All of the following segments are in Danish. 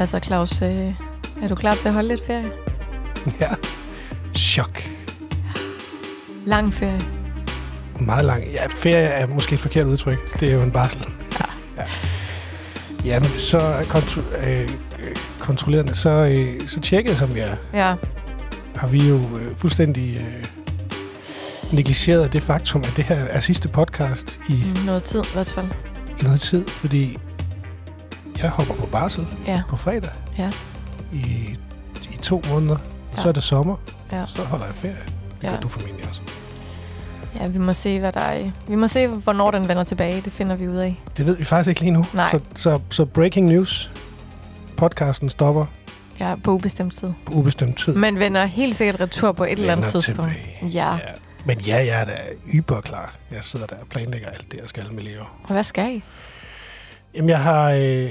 Altså Claus, øh, er du klar til at holde lidt ferie? Ja. Chok. Lang ferie. Meget lang. Ja, ferie er måske et forkert udtryk. Det er jo en barsel. Ja. ja. Jamen, så kontro- øh, øh, kontrollerende, så, øh, så tjekkede som jeg, Ja, har vi jo øh, fuldstændig øh, negligeret det faktum, at det her er sidste podcast i, mm. mm, noget tid i hvert fald. i noget tid, fordi jeg hopper på barsel Ja, på fredag Ja. i, i to måneder. Og Ja. så er det sommer, Ja. så holder jeg ferie. Det Ja. gør du formentlig også. ja, vi må se, hvad der er. i- Vi må se, hvornår den vender tilbage. Det finder vi ud af. Det ved vi faktisk ikke lige nu. Nej. Så, så, så breaking news. Podcasten stopper Ja, på ubestemt tid. på ubestemt tid. Men vender helt sikkert retur på et eller andet Vender tidspunkt. tilbage. Ja, Ja. Men ja, jeg er da yberklar. Jeg sidder der og planlægger alt det, jeg skal med Leo. og hvad skal I? Jamen, jeg har... Øh,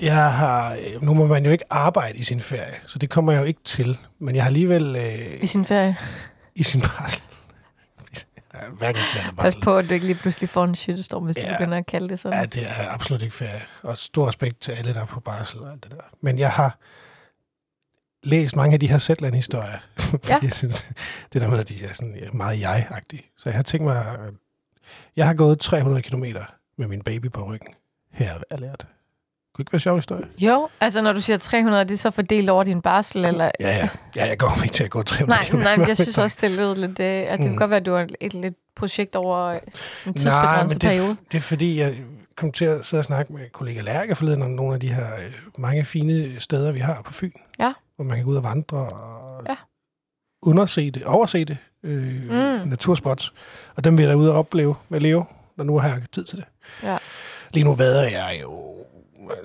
jeg har... øh, Nu må man jo ikke arbejde i sin ferie, så det kommer jeg jo ikke til. Men jeg har alligevel I øh, sin ferie? i sin barsel... Ja, Hverken ferie eller Pas barsel. på, at du ikke lige pludselig får en shitstorm, hvis ja. du Ja. begynder at kalde det sådan. Ja, det er absolut ikke ferie. Og stor respekt til alle, der er på barsel og alt det der. Men jeg har læst mange af de her Zetland-historier, fordi Ja. ja. jeg synes, det der med, at de er sådan meget jeg-agtige. Så jeg har tænkt mig, øh, jeg har gået 300 km med min baby på ryggen. Her er lært. Kunne ikke være en sjov historie? Jo, altså når du siger 300, er det så fordelt over din barsel? Eller? Ja, ja. ja jeg går ikke til at gå 300 Nej, km. nej, men jeg synes også, det lød lidt... Øh, at det kan Mm. godt være, at du har et lidt projekt over en Nej, tidsbegrænset men det, periode. er- det er fordi, jeg kom til at sidde og snakke med kollega Lærke forleden om nogle af de her øh, mange fine steder, vi har på Fyn. Ja. Hvor man kan gå ud og vandre og Ja. underse det, overse det. Øh, Mm. mm. Naturspots. Og dem vil jeg da ud og opleve med Leo, når nu har jeg tid til det. Ja. Lige nu vader jeg jo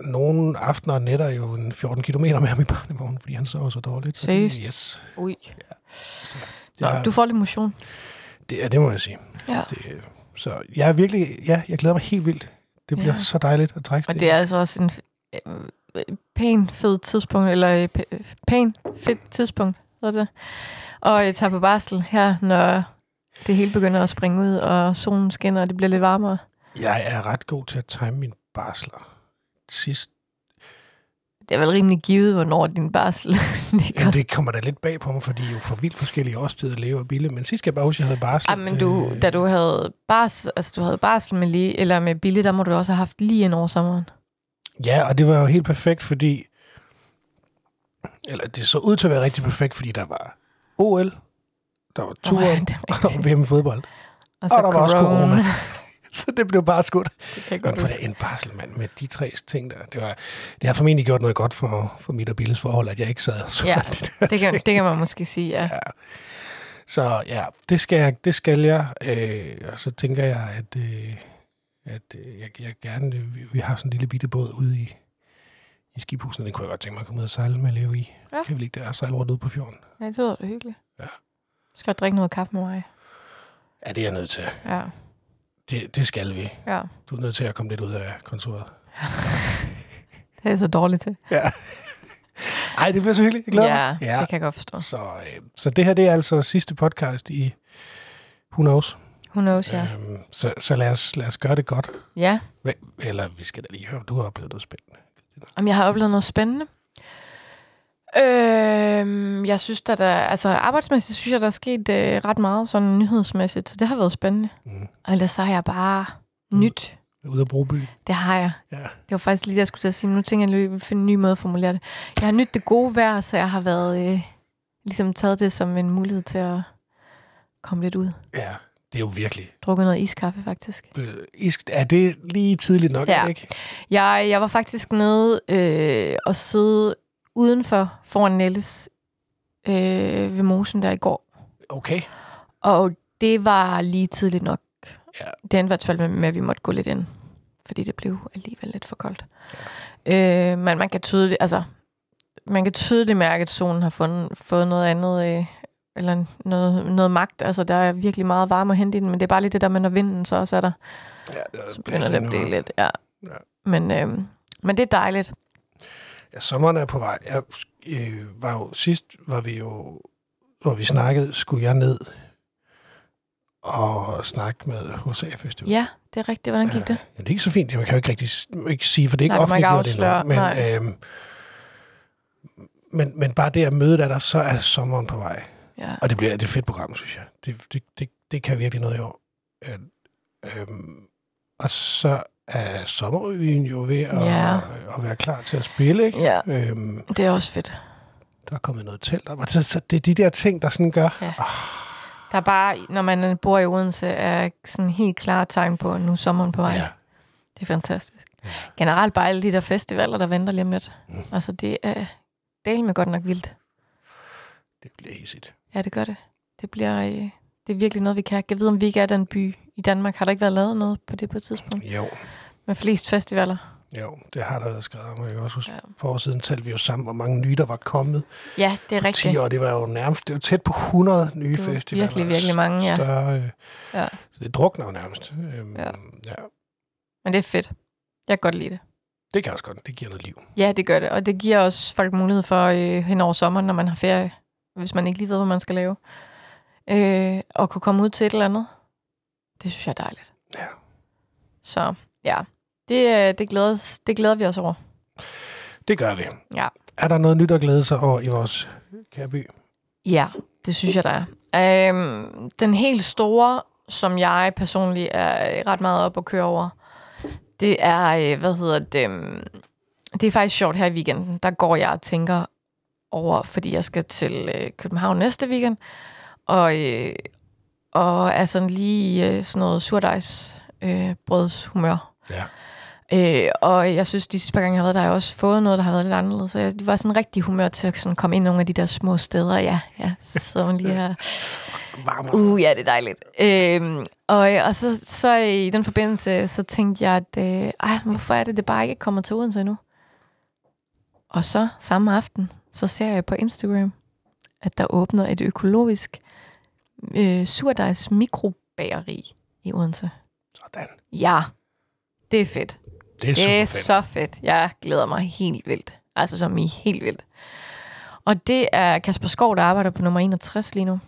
nogle aftener og nætter jo en 14 km med ham i barnevognen, fordi han sover så dårligt. Så det, Seriøst? yes. Ui. Nå, Jeg, du får lidt motion. det, ja, det må jeg sige. Ja. Det, så jeg er virkelig, ja, jeg glæder mig helt vildt. Det bliver Ja. ja. så dejligt at trække Og det er altså også en øh, øh, pæn, fed tidspunkt, eller øh, p- øh, pæn, fedt tidspunkt, hedder det. Og jeg tager på barsel her, når det hele begynder at springe ud, og solen skinner, og det bliver lidt varmere. Jeg er ret god til at time min barsler. Sidst, Det er vel rimelig givet, hvornår din barsel ligger. jamen, det kommer da lidt bag på mig, fordi jo for vildt forskellige årstider lever Bille. Men sidst skal jeg bare huske, at jeg havde barsel. Ej, Ah, men du, Øh, da du havde barsel, altså du havde barsel med lige, eller med Billy, der må du også have haft lige en over sommeren. Ja, og det var jo helt perfekt, fordi... Eller det så ud til at være rigtig perfekt, fordi der var OL, der var Åh, ja, turen, det Altså, er og der var VM i fodbold. Og Og der var også corona. Så det blev bare skudt. Det kan jeg Men godt på det, huske. en barsel, mand, med de tre ting der. Det, var, det har formentlig gjort noget godt for, for mit og Billes forhold, at jeg ikke sad og så Ja, alle de der Det kan, ting. det kan man måske sige, ja. Så ja, det skal jeg. Det skal jeg. Øh, og så tænker jeg, at, øh, at øh, jeg, jeg gerne... Vi, vi har sådan en lille bitte båd ude i, i skibhuset. Den kunne jeg godt tænke mig at komme ud og sejle med Leo i. Ja. Ja. Kan vi ligge der og sejle rundt ude på fjorden? Ja, det lyder da hyggeligt. Ja. Skal du drikke noget kaffe med mig? Ja, det er jeg nødt til. Ja, Det, det skal vi. ja. Du er nødt til at komme lidt ud af kontoret. Det er jeg så dårligt til. Ej, det bliver så hyggeligt. Jeg glæder ja, mig. ja, det kan jeg godt forstå. Så, øh, så det her, det er altså sidste podcast i Who Knows. Who knows, ja. Øhm, så så lad, os, lad os gøre det godt. Ja, Hva- Eller vi skal da lige høre, om du har oplevet noget spændende. om jeg har oplevet noget spændende. Øhm, jeg synes, at der, altså arbejdsmæssigt synes jeg, der er sket øh, ret meget sådan nyhedsmæssigt, så det har været spændende. Mm. Og ellers så har jeg bare Mm. nyt. Ude at bruge byen. Det har jeg. Ja. Det var faktisk lige det, jeg skulle til at sige, men nu tænker jeg, at jeg vil finde en ny måde at formulere det. Jeg har nyt det gode vejr, så jeg har været, øh, ligesom taget det som en mulighed til at komme lidt ud. ja, det er jo virkelig. Drukket noget iskaffe, faktisk. øh, isk- Er det lige tidligt nok, Ja. er det ikke? Jeg, jeg var faktisk nede øh, og sidde udenfor foran Nelles øh, ved mosen der i går. Okay. Og det var lige tidligt nok. Ja. Det endte i hvert fald med, med, at vi måtte gå lidt ind. Fordi det blev alligevel lidt for koldt. Ja. Øh, men man kan tydeligt, altså, man kan tydeligt mærke, at solen har fundet, fået noget andet, øh, eller noget, noget magt. Altså, der er virkelig meget varme at hente i den, men det er bare lige det der med, når vinden så også er der Ja, det er så begynder det at blive lidt, ja. Ja. Men, øh, men det er dejligt. Ja, sommeren er på vej. Jeg øh, var jo sidst, var vi jo, hvor vi snakkede, skulle jeg ned og snakke med HCA Festival. Ja, det er rigtigt. Hvordan gik det? Jamen, det er ikke så fint. Det man kan jo ikke rigtig s- ikke sige, for det er ikke Nej, det må ikke offentliggjort endnu. Men, afsløre. øhm, men, men bare det at møde dig, der så er sommeren på vej. Ja. Og det bliver det er et fedt program, synes jeg. Det, det, det, det kan virkelig noget i år. Øh, øhm, og så er sommerrevyen jo ved at, Ja. at være klar til at spille, ikke? ja, Øhm, det er også fedt. der er kommet noget telt op. Og så, så det er de der ting, der sådan gør, Der er bare, når man bor i Odense, er sådan helt klare tegn på, at nu er sommeren på vej. Ja. Ja. Det er fantastisk. Ja. Generelt bare alle de der festivaler, der venter lige om lidt. Mm. Mm. Altså, det er del med godt nok vildt. det bliver æsigt. Ja, det gør det. Det bliver, øh, det er virkelig noget, vi kan. Jeg ved, om vi ikke er den by i Danmark. Har der ikke været lavet noget på det på et tidspunkt? Jo, Med flest festivaler. jo, det har der været skrevet om. Jeg kan også huske, Ja. ja. på år siden talte vi jo sammen, hvor mange nye, der var kommet. Ja, det er 10 rigtigt. år, det var jo nærmest, det var tæt på 100 nye Det var festivaler. virkelig, virkelig mange, ja. Større, øh, Ja. Så det drukner jo nærmest. Øhm, Ja. ja. ja. Men det er fedt. Jeg kan godt lide det. Det kan også godt, det giver noget liv. Ja, det gør det. Og det giver også folk mulighed for øh, hen over sommeren, når man har ferie, hvis man ikke lige ved, hvad man skal lave, øh, og kunne komme ud til et eller andet. Det synes jeg er dejligt. Ja. Så ja, det, øh, det, glæder, det glæder vi os over. Det gør vi. Ja. Er der noget nyt at glæde sig over i vores kære by? Ja, det synes jeg, der er. Øhm, den helt store, som jeg personligt er øh, ret meget op at køre over, det er, øh, hvad hedder det, øhm, det er faktisk sjovt her i weekenden. Der går jeg og tænker over, fordi jeg skal til øh, København næste weekend, og, øh, og er sådan lige i, øh, sådan noget surdejs øh, brødshumør. Ja. Øh, og jeg synes, de sidste par gange, jeg har været der, har jeg også fået noget, der har været lidt anderledes. Så jeg var sådan rigtig i humør til at sådan komme ind nogle af de der små steder. Ja, ja, så sidder man lige her. Varmer sig. Uh, ja, det er dejligt. Øhm, og, og så, så i den forbindelse, så tænkte jeg, at øh, ej, hvorfor er det, det bare ikke kommer til Odense endnu? Og så samme aften, så ser jeg på Instagram, at der åbner et økologisk øh, surdejs mikrobageri i Odense. Sådan. Ja, det er fedt. Det er super Det er fedt. så fedt. Jeg glæder mig helt vildt. Altså som i helt vildt. Og det er Kasper Skov, der arbejder på nummer 61 lige nu.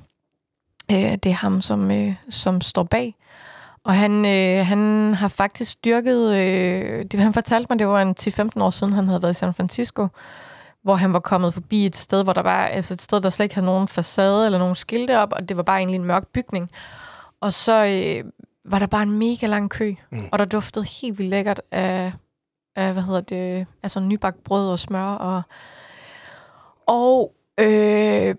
Øh, det er ham, som, øh, som står bag. Og han, øh, han har faktisk dyrket... Øh, det, han fortalte mig, det var en 10-15 år siden, han havde været i San Francisco, hvor han var kommet forbi et sted, hvor der var altså et sted, der slet ikke havde nogen facade eller nogen skilte op, og det var bare egentlig en mørk bygning. Og så øh, var der bare en mega lang kø, Mm. mm. og der duftede helt vildt lækkert af, af øh, hvad hedder det, altså nybagt brød og smør. Og, og øh,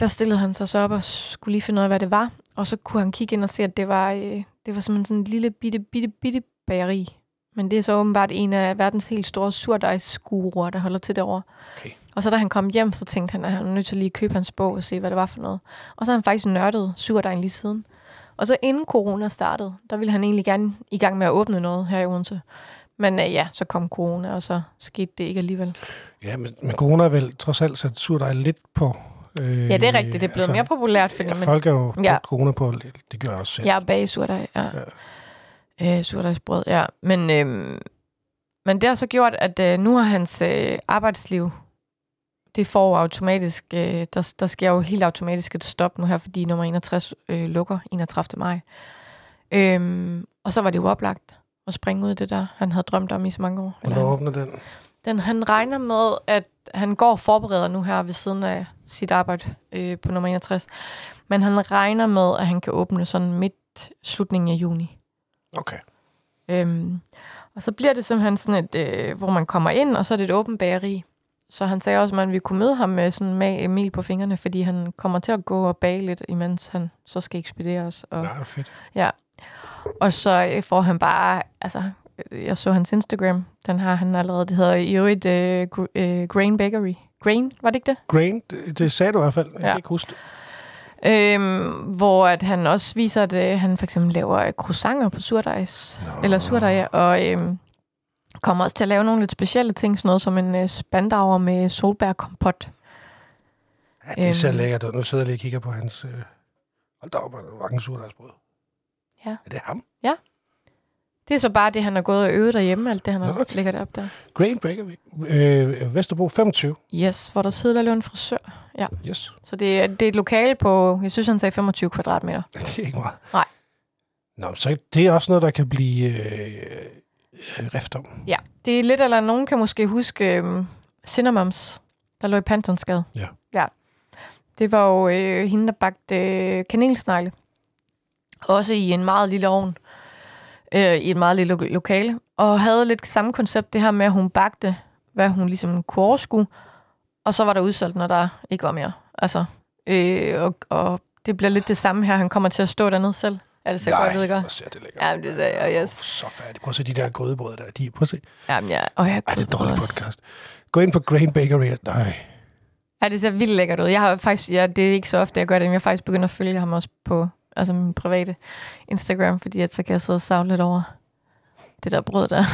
der stillede han sig så op og skulle lige finde ud af, hvad det var. Og så kunne han kigge ind og se, at det var, øh, det var simpelthen sådan en lille bitte, bitte, bitte bageri. Men det er så åbenbart en af verdens helt store surdejsguruer, der holder til derovre. Okay. Og så da han kom hjem, så tænkte han, at han var nødt til lige at købe hans bog og se, hvad det var for noget. Og så har han faktisk nørdet surdejen lige siden. Og så inden corona startede, der ville han egentlig gerne i gang med at åbne noget her i Odense. Men øh, ja, så kom corona, og så skete det ikke alligevel. Ja, men, men corona er vel trods alt sat surdej lidt på... Øh, Ja, det er rigtigt. Det er blevet mere populært, fordi Ja, man folk er jo Ja. ja. corona på, lidt. det gør jeg også selv. Jeg er bag surdej, ja. ja. Øh, surdejsbrød, ja. Men, øhm, men det har så gjort, at øh, nu har hans øh, arbejdsliv, det får jo automatisk, øh, der, der sker jo helt automatisk et stop nu her, fordi nummer 61 øh, lukker 31. maj. Øhm, og så var det jo oplagt at springe ud i det der, han havde drømt om i så mange år. Eller Hvornår han- åbner den? den, han regner med, at han går og forbereder nu her ved siden af sit arbejde øh, på nummer 61. Men han regner med, at han kan åbne sådan midt slutningen af juni. Okay. Øhm, og så bliver det simpelthen sådan et, øh, hvor man kommer ind, og så er det et åbent bageri. Så han sagde også, at man ville kunne møde ham med sådan med Emil på fingrene, fordi han kommer til at gå og bage lidt, imens han så skal ekspederes. Og, Nej, fedt. og så øh, får han bare, altså, øh, jeg så hans Instagram, den har han allerede, det hedder i øvrigt øh, gr- øh, Grain Bakery. Grain, var det ikke det? Grain, det, det sagde du i hvert fald. Jeg Ja. kan ikke huske det. Øhm, hvor at han også viser, at øh, han for eksempel laver øh, croissanter på surdejs, Nå. eller surdej, og øhm, kommer også til at lave nogle lidt specielle ting, sådan noget som en øh, spandauer med solbærkompot. Ja, det ser Øhm. lækkert ud. Nu sidder jeg lige og kigger på hans... Øh... Hold da op, hvor mange surdejsbrød. Ja. Er det ham? Det er så bare det, han har gået og øvet derhjemme, alt det, han har Nå, okay. lægget op der. Grain Bakery. Øh, Vesterbro 25. Yes, hvor der sidder der en frisør. Ja. Yes. Så det, er- det er et lokale på, jeg synes, han sagde 25 kvadratmeter. Det er ikke meget. Nej. Nå, så det er også noget, der kan blive øh, øh, rift om. Ja, det er lidt, eller nogen kan måske huske øhm, Cinnamons, der lå i Pantonsgade. Ja. ja. Det var jo øh, hende, der bagte øh, kanelsnegle. Også i en meget lille ovn. Øh, I et meget lille lo- lokale. Og havde lidt samme koncept, det her med, at hun bagte, hvad hun ligesom kunne overskue. Og så var der udsolgt, når der ikke var mere. Altså, øh, og, og det bliver lidt det samme her. Han kommer til at stå dernede selv. Er det så godt, ved ikke? hvor ser det lækkert. Ja, men det sagde jeg, yes. Åh, så færdigt. Prøv at se de der grødebrød der. De, prøv at se. Jamen, ja. Og jeg Ej, det er kunne et dårligt også- podcast. Gå ind på Grain Bakery. Nej. Ja, det ser vildt lækkert ud. Jeg har faktisk, ja, det er ikke så ofte, jeg gør det, men jeg har faktisk begyndt at følge ham også på altså min private Instagram, fordi at så kan jeg sidde og savle lidt over det der brød der.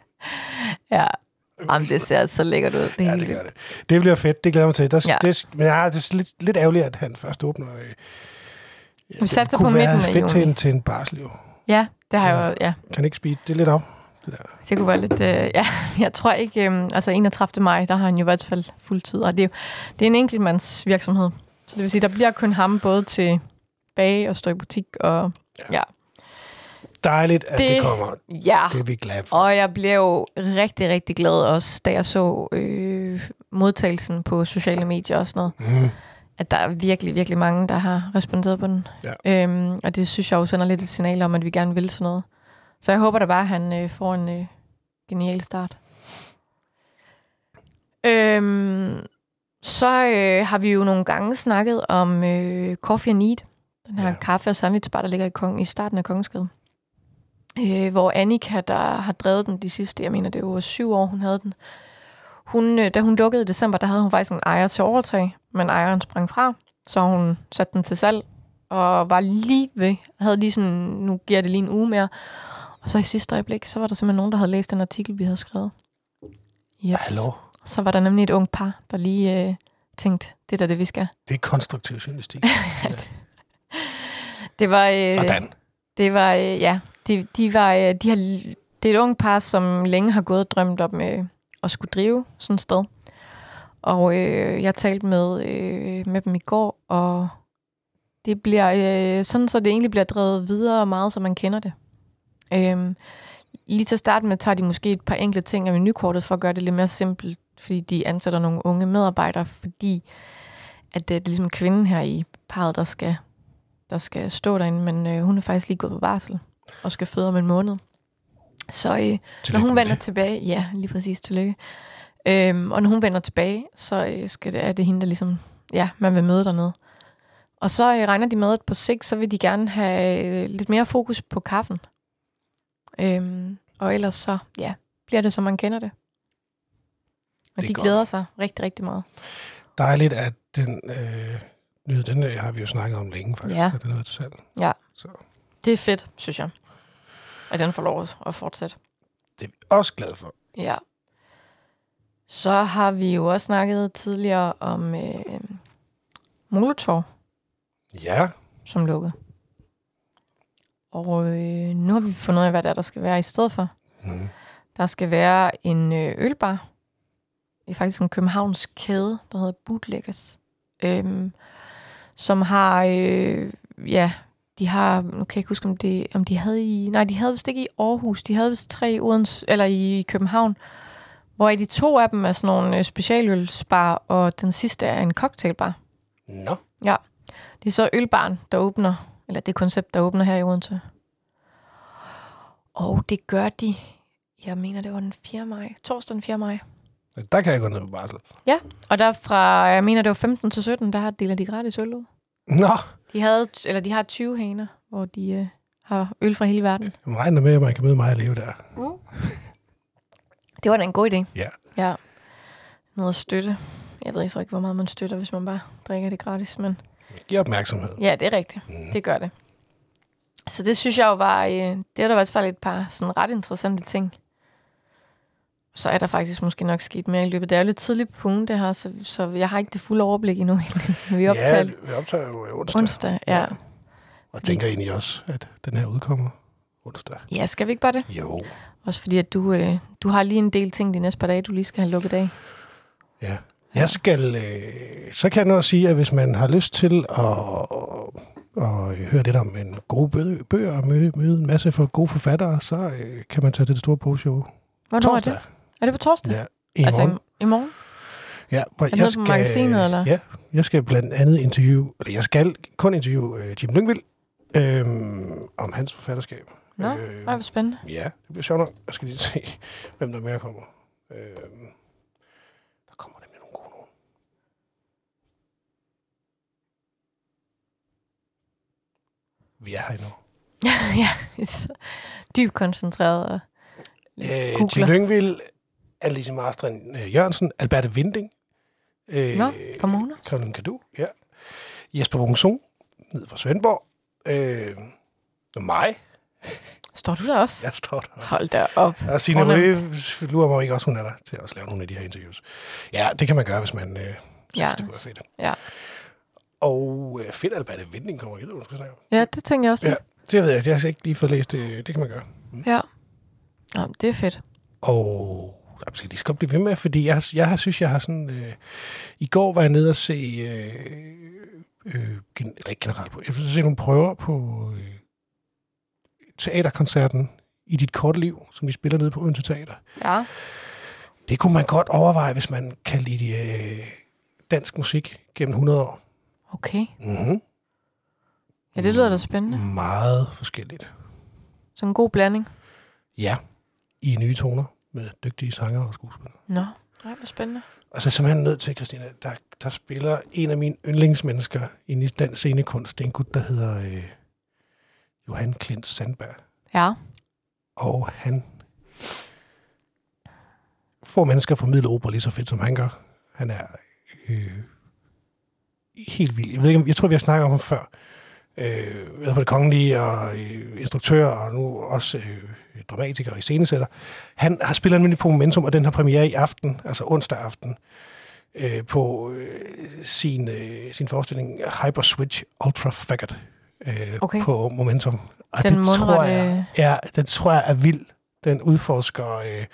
ja, Jamen, det ser så lækkert ud. Det, Ja, det gør det. Det bliver fedt. Det glæder jeg mig til. Der, ja. Ja. det, men ja, det er lidt, lidt ærgerligt, at han først åbner. Øh, Vi satser det kunne på midten være af fedt til juni. en, til en barsel, jo. Ja, det har jeg jo, ja. Kan ikke speede det lidt op? Det kunne være lidt... Øh, ja, jeg tror ikke... Øh, altså 31. maj, der har han jo i hvert fald fuldtid, og det er, jo, det er en enkeltmandsvirksomhed. Så det vil sige, der bliver kun ham både til bage og stå i butik, og Dejligt, at det, det Det- kommer. ja, Det er vi glade for. Og jeg blev jo rigtig, rigtig glad også, da jeg så øh, modtagelsen på sociale medier og sådan noget. Mm. At der er virkelig, virkelig mange, der har responderet på den. Ja. Øhm, og det synes jeg jo sender lidt et signal om, at vi gerne vil sådan noget. Så jeg håber da bare, at han øh, får en øh, genial start. Øhm, så øh, har vi jo nogle gange snakket om øh, Coffee and Eat. Den her Ja. ja. kaffe- og sandwichbar, der ligger i, kong, i starten af Kongeskade. Øh, hvor Annika, der har drevet den de sidste, jeg mener det var syv år, hun havde den. Hun, øh, da hun lukkede i december, der havde hun faktisk en ejer til overtag, men ejeren sprang fra. Så hun satte den til salg og var lige ved, havde lige sådan, nu giver det lige en uge mere. Og så i sidste øjeblik, så var der simpelthen nogen, der havde læst den artikel, vi havde skrevet. Yes. Hallo. Så var der nemlig et ungt par, der lige øh, tænkte, det er da det, vi skal. Det er konstruktiv journalistik. det var... Øh, Sådan. Det var, øh, ja, de, de var, øh, de har, det er et ung par, som længe har gået og drømt om øh, at skulle drive sådan et sted. Og øh, jeg talte med, øh, med dem i går, og det bliver øh, sådan, så det egentlig bliver drevet videre meget, som man kender det. Øhm, lige til at starte med tager de måske et par enkle ting af menukortet for at gøre det lidt mere simpelt, fordi de ansætter nogle unge medarbejdere, fordi at det er ligesom kvinden her i parret, der skal der skal stå derinde, men øh, hun er faktisk lige gået på barsel og skal føde om en måned. Så øh, når Tillykke hun med vender det. tilbage, ja, lige præcis, tillykke. Øhm, og når hun vender tilbage, så øh, skal det, er det hende, der ligesom, ja, man vil møde dernede. Og så øh, regner de med, at på sigt, så vil de gerne have øh, lidt mere fokus på kaffen. Øhm, og ellers så, ja, bliver det, som man kender det. Og Det er de godt. glæder sig rigtig, rigtig meget. Dejligt, at den øh, nyhed, den øh, har vi jo snakket om længe, faktisk. Ja. At den er til salg. Det er fedt, synes jeg, at den får lov at fortsætte. Det er vi også glade for. Ja. Så har vi jo også snakket tidligere om øh, Molotov, Ja. som lukkede. Og øh, nu har vi fundet ud af, hvad der, der skal være i stedet for. Mm. Der skal være en øh, ølbar. Det er faktisk en københavnsk kæde, der hedder Bootleggers. Øhm, som har, øh, ja, de har, nu kan jeg ikke huske, om, det, om de havde i, nej, de havde vist ikke i Aarhus, de havde vist tre i Odens, eller i København, hvor de to af dem er sådan nogle øh, specialølsbar, og den sidste er en cocktailbar. Nå. Det er så ølbaren, der åbner, eller det koncept, der åbner her i Odense. Og det gør de, jeg mener, det var den 4. maj, torsdag den 4. maj. Der kan jeg gå ned på barsel. Og der fra, jeg mener, det var 15 til 17, der har- deler de gratis øl ud. Nå. De, havde, eller de har 20 haner, hvor de øh, har øl fra hele verden. Jeg regner med, at man kan møde mig og leve der. Det var da en god idé. Ja. Ja. Noget at støtte. Jeg ved ikke så ikke, hvor meget man støtter, hvis man bare drikker det gratis, men Giv opmærksomhed. Ja, det er rigtigt. Mm. Mm. Det gør det. Så det synes jeg jo var, øh, det er der i hvert fald et par sådan ret interessante ting. Så er der faktisk måske nok sket mere i løbet. Det er jo lidt tidligt på ugen, det her, så, så jeg har ikke det fulde overblik endnu. vi optager ja, Ja, vi optager jo øh, onsdag. onsdag. onsdag. Ja. Og tænker egentlig også, at den her udkommer onsdag. ja, skal vi ikke bare det? Jo. Også fordi, at du, øh, du har lige en del ting de næste par dage, du lige skal have lukket af. Ja. Jeg skal, øh, så kan jeg nå at sige, at hvis man har lyst til at, at høre lidt om en god bø- bøger og møde, møde en masse for gode forfattere, så øh, kan man tage til det store bogshow. Hvornår er det? Er det på torsdag? Ja, i altså, morgen. i morgen? Ja, hvor nede på magasinet, eller? Ja, jeg skal blandt andet interviewe, eller jeg skal kun interviewe øh, Jim Lyngvild øh, om hans forfatterskab. Nå, Øh, nej, hvor spændende. Ja, det bliver sjovt nok. Jeg skal lige se, hvem der mere kommer. Øh, der kommer nemlig nogle gode nogen. Vi er her endnu. ja, så dybt koncentreret og Øh, Tim googler. Lyngvild, Alice Marstrand øh, Jørgensen, Alberte Vinding. Øh, Nå, kommer hun også? Karoline Kadu, ja. Jesper Wungsung, ned fra Svendborg. Øh, og mig, Står du der også? jeg står der også. Hold da op. Og Signe Fornemt. Røe lurer mig ikke også, hun er der til at også lave nogle af de her interviews. Ja, det kan man gøre, hvis man øh, synes, Ja. det kunne være fedt. Ja. Og øh, fedt, Alberte Vinding kommer videre, hun skal snakke om. Ja, det tænker jeg også. Ja. Ja. Det ved jeg, jeg har ikke lige fået læst øh, det. Det kan man gøre. ja. Nå, det er fedt. Og jamen, skal de skal blive ved med, fordi jeg, jeg har synes, jeg har sådan... Øh, I går var jeg nede og se... Øh, øh, gen, eller ikke generelt på... Jeg har se nogle prøver på øh, teaterkoncerten i dit korte liv, som vi spiller nede på Odense Teater. Ja. Det kunne man godt overveje, hvis man kan lide øh, dansk musik gennem 100 år. Okay. Mm-hmm. Ja, det lyder da spændende. Meget forskelligt. Så en god blanding. Ja, i nye toner med dygtige sanger og skuespillere. Nå, nej, hvor spændende. Og så er jeg simpelthen nødt til, Christina, der, der spiller en af mine yndlingsmennesker inde i dansk scenekunst. Det er en gut, der hedder øh, Johan Klint Sandberg. Ja. Og han få mennesker formidler opera lige så fedt, som han gør. Han er øh, helt vild. Jeg, ved ikke, om- jeg tror, vi har snakket om ham før. Øh, været på det kongelige, og øh, instruktør, og nu også øh, dramatiker og iscenesætter. Han har spillet nemlig på Momentum, og den har premiere i aften, altså onsdag aften, øh, på øh, sin, øh, sin forestilling Hyperswitch Ultra Faggot øh, Okay. på Momentum. Og Den det tror mundrette- jeg, ja, den tror jeg er vild. Den udforsker øh,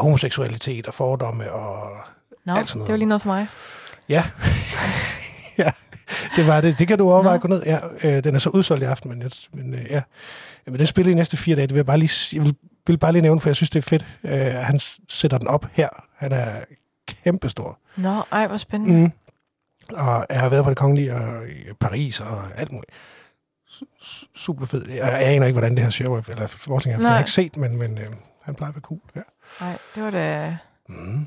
homoseksualitet og fordomme, og Nå, Alt sådan noget. det var lige noget for mig. ja, ja det var det. Det kan du overveje Nå. at gå ned. Ja, øh, den er så udsolgt i aften, men, jeg, men øh, ja. Men den spiller i de næste fire dage. Det vil jeg bare lige, s- jeg vil, vil bare lige nævne, for jeg synes, det er fedt. Øh, at han s- sætter den op her. Han er kæmpestor. Nå, ej, hvor spændende. Mm. Og jeg har været på det kongelige og i Paris og alt muligt. Su- su- Super fed. Jeg, jeg aner ikke, hvordan det her show er, eller forskning er. for Det har Nej. jeg ikke set, men, men øh, han plejer at være cool. Ja. Nej, det var da... Mm.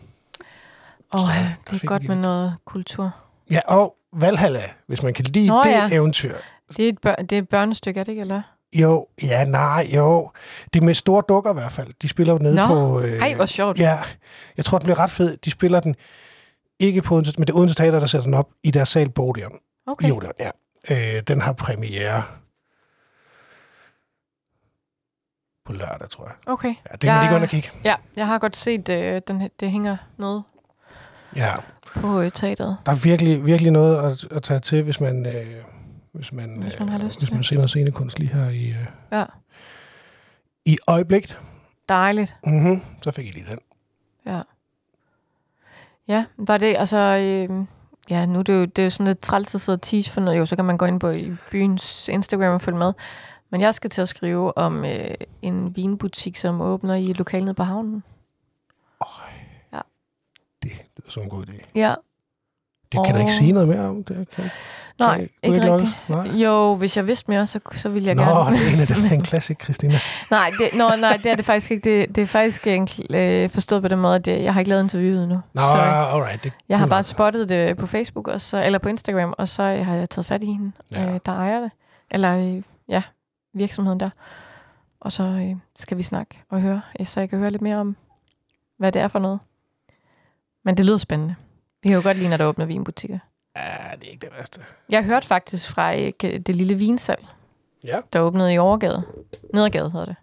Åh, Så ja, der det fik er vi godt med lidt. noget kultur. Ja, og Valhalla, hvis man kan lide Nå, Nå, det ja. ja. eventyr. Det er, et bør- det er et børnestykke, er det ikke, eller? Jo, ja, nej, jo. Det er med store dukker i hvert fald. De spiller jo nede Nå, på... Øh, Ej, hvor sjovt. Ja, jeg tror, den bliver ret fed. De spiller den ikke på Odense, men det er Odense Teater, der sætter den op i deres sal Bodium. Okay. Okay. Jo, det er, ja. Øh, den har premiere på lørdag, tror jeg. Okay. Ja, det kan man Ja. lige gå ind og kigge. Ja, jeg har godt set, øh, den, hæ- det hænger nede Ja, på øh, teateret. der er virkelig, virkelig noget at, at tage til, hvis man, øh, hvis man, øh, Hvis man har lyst hvis til man ser noget scenekunst lige her i, øh, Ja, i øjeblikket. dejligt. Mm-hmm. Så fik I lige den. Ja. Ja, var det, altså... Øh, ja, nu er det jo, det er jo sådan lidt træls at sidde og tease for noget. Jo, så kan man gå ind på i byens Instagram og følge med. Men jeg skal til at skrive om øh, en vinbutik, som åbner i lokalet på havnen. Det lyder som en god idé. Ja. Det kan oh. Åh. da ikke sige noget mere om. Det kan, Nej, kan, du ikke lokke? rigtigt. Nej. Jo, hvis jeg vidste mere, så, så ville jeg Nå, gerne. det er en af dem, der er en klassik, Christina. Nej, det, nå, nej, det er det faktisk ikke. Det, det er faktisk en, kl- øh, forstået på den måde, at jeg, jeg har ikke lavet interviewet endnu. Nå, Sorry. alright. Det Jeg har kunne bare nok- spottet det på Facebook, og så, eller på Instagram, og så øh, har jeg taget fat i hende, Ja. ja. øh, der ejer det. Eller øh, ja, virksomheden der. Og så øh, skal vi snakke og høre, øh, så jeg kan høre lidt mere om, hvad det er for noget. Men det lyder spændende. Vi kan jo godt lide, når der åbner vinbutikker. Ja, det er ikke det værste. Jeg hørte faktisk fra øh, det lille vinsal, Ja. der åbnede i Overgade. Nedergade hedder det.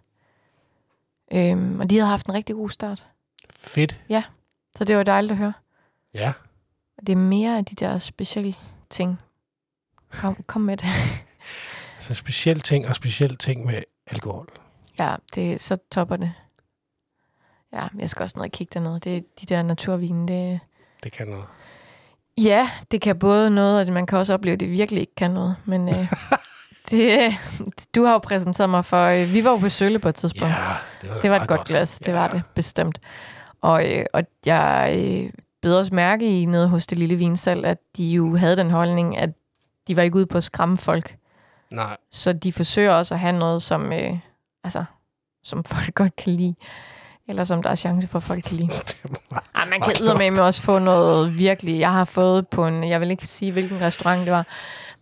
Øhm, og de havde haft en rigtig god start. Fedt. Så det var dejligt at høre. Ja. Og det er mere af de der specielle ting. Kom, kom med det. Altså speciel ting og speciel ting med alkohol. Ja, det, så topper det. Ja, jeg skal også ned og kigge dernede. Det, de der naturvine, det, Det kan noget. Ja, det kan både noget, og det- man kan også opleve, at det virkelig ikke kan noget. Men øh, det, du har jo præsenteret mig for... Øh, vi var jo på Sølle på et tidspunkt. Ja, det var, da Det var et meget godt glas, det Ja. var det, bestemt. Og, øh, og jeg øh, beder også mærke i nede hos det lille vinsal, at de jo havde den holdning, at de var ikke ude på at skræmme folk. Nej, Så de forsøger også at have noget, som, øh, altså, som folk godt kan lide. Eller som der er chance for, at folk kan lide. det var, Ej, man Meget kan eddermame også få noget virkelig... Jeg har fået på en... Jeg vil ikke sige, hvilken restaurant det var.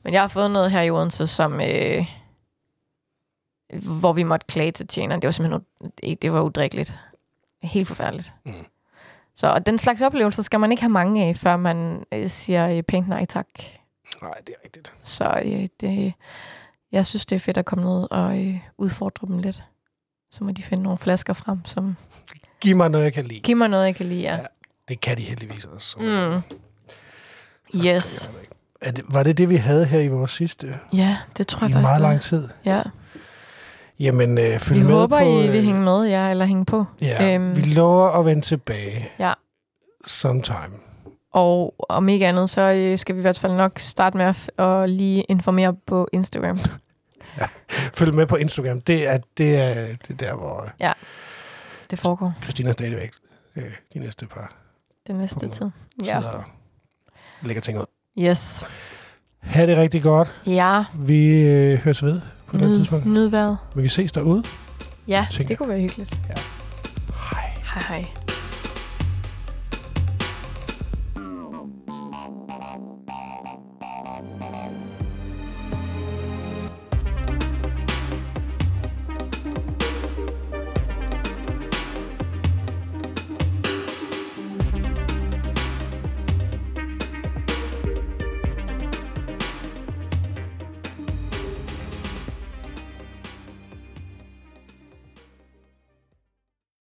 Men jeg har fået noget her i Odense, som... Øh, hvor vi måtte klage til tjeneren. Det var simpelthen... u- Det var udrikkeligt. Helt forfærdeligt. Mm. Mm. Så og den slags oplevelser skal man ikke have mange af, før man øh, siger øh, pænt nej tak. nej, det er rigtigt. Så øh, det, jeg synes, det er fedt at komme ned og øh, udfordre dem lidt. Så må de finde nogle flasker frem, som Giv mig noget, jeg kan lide. giver mig noget, jeg kan lide. Ja. Ja. Det kan de heldigvis også. Mm. Så Yes. kan jeg ikke. Er det, var det det, vi havde her i vores sidste? Ja, det tror jeg I faktisk. meget det var. lang tid. Ja, Jamen, øh, følg vi med håber, på... I vil øh, hænge med, ja, eller hænge på. Ja, Øhm. vi lover at vende tilbage. Ja. Sometime. Og om ikke andet, så øh, skal vi i hvert fald nok starte med at, f- at lige informere på Instagram. Følg med på Instagram. Det er, det er, det er der, hvor Det foregår Christina stadigvæk øh, de næste par den næste Kommer. tid. ja. Ja. sidder og lægger ting ud. Yes. Ha' det rigtig godt. Ja, Vi øh, høres ved på det her tidspunkt. nyd, nyd vejret. Men vi ses derude. Ja, Tænker det kunne være hyggeligt. Hej. Hej hej.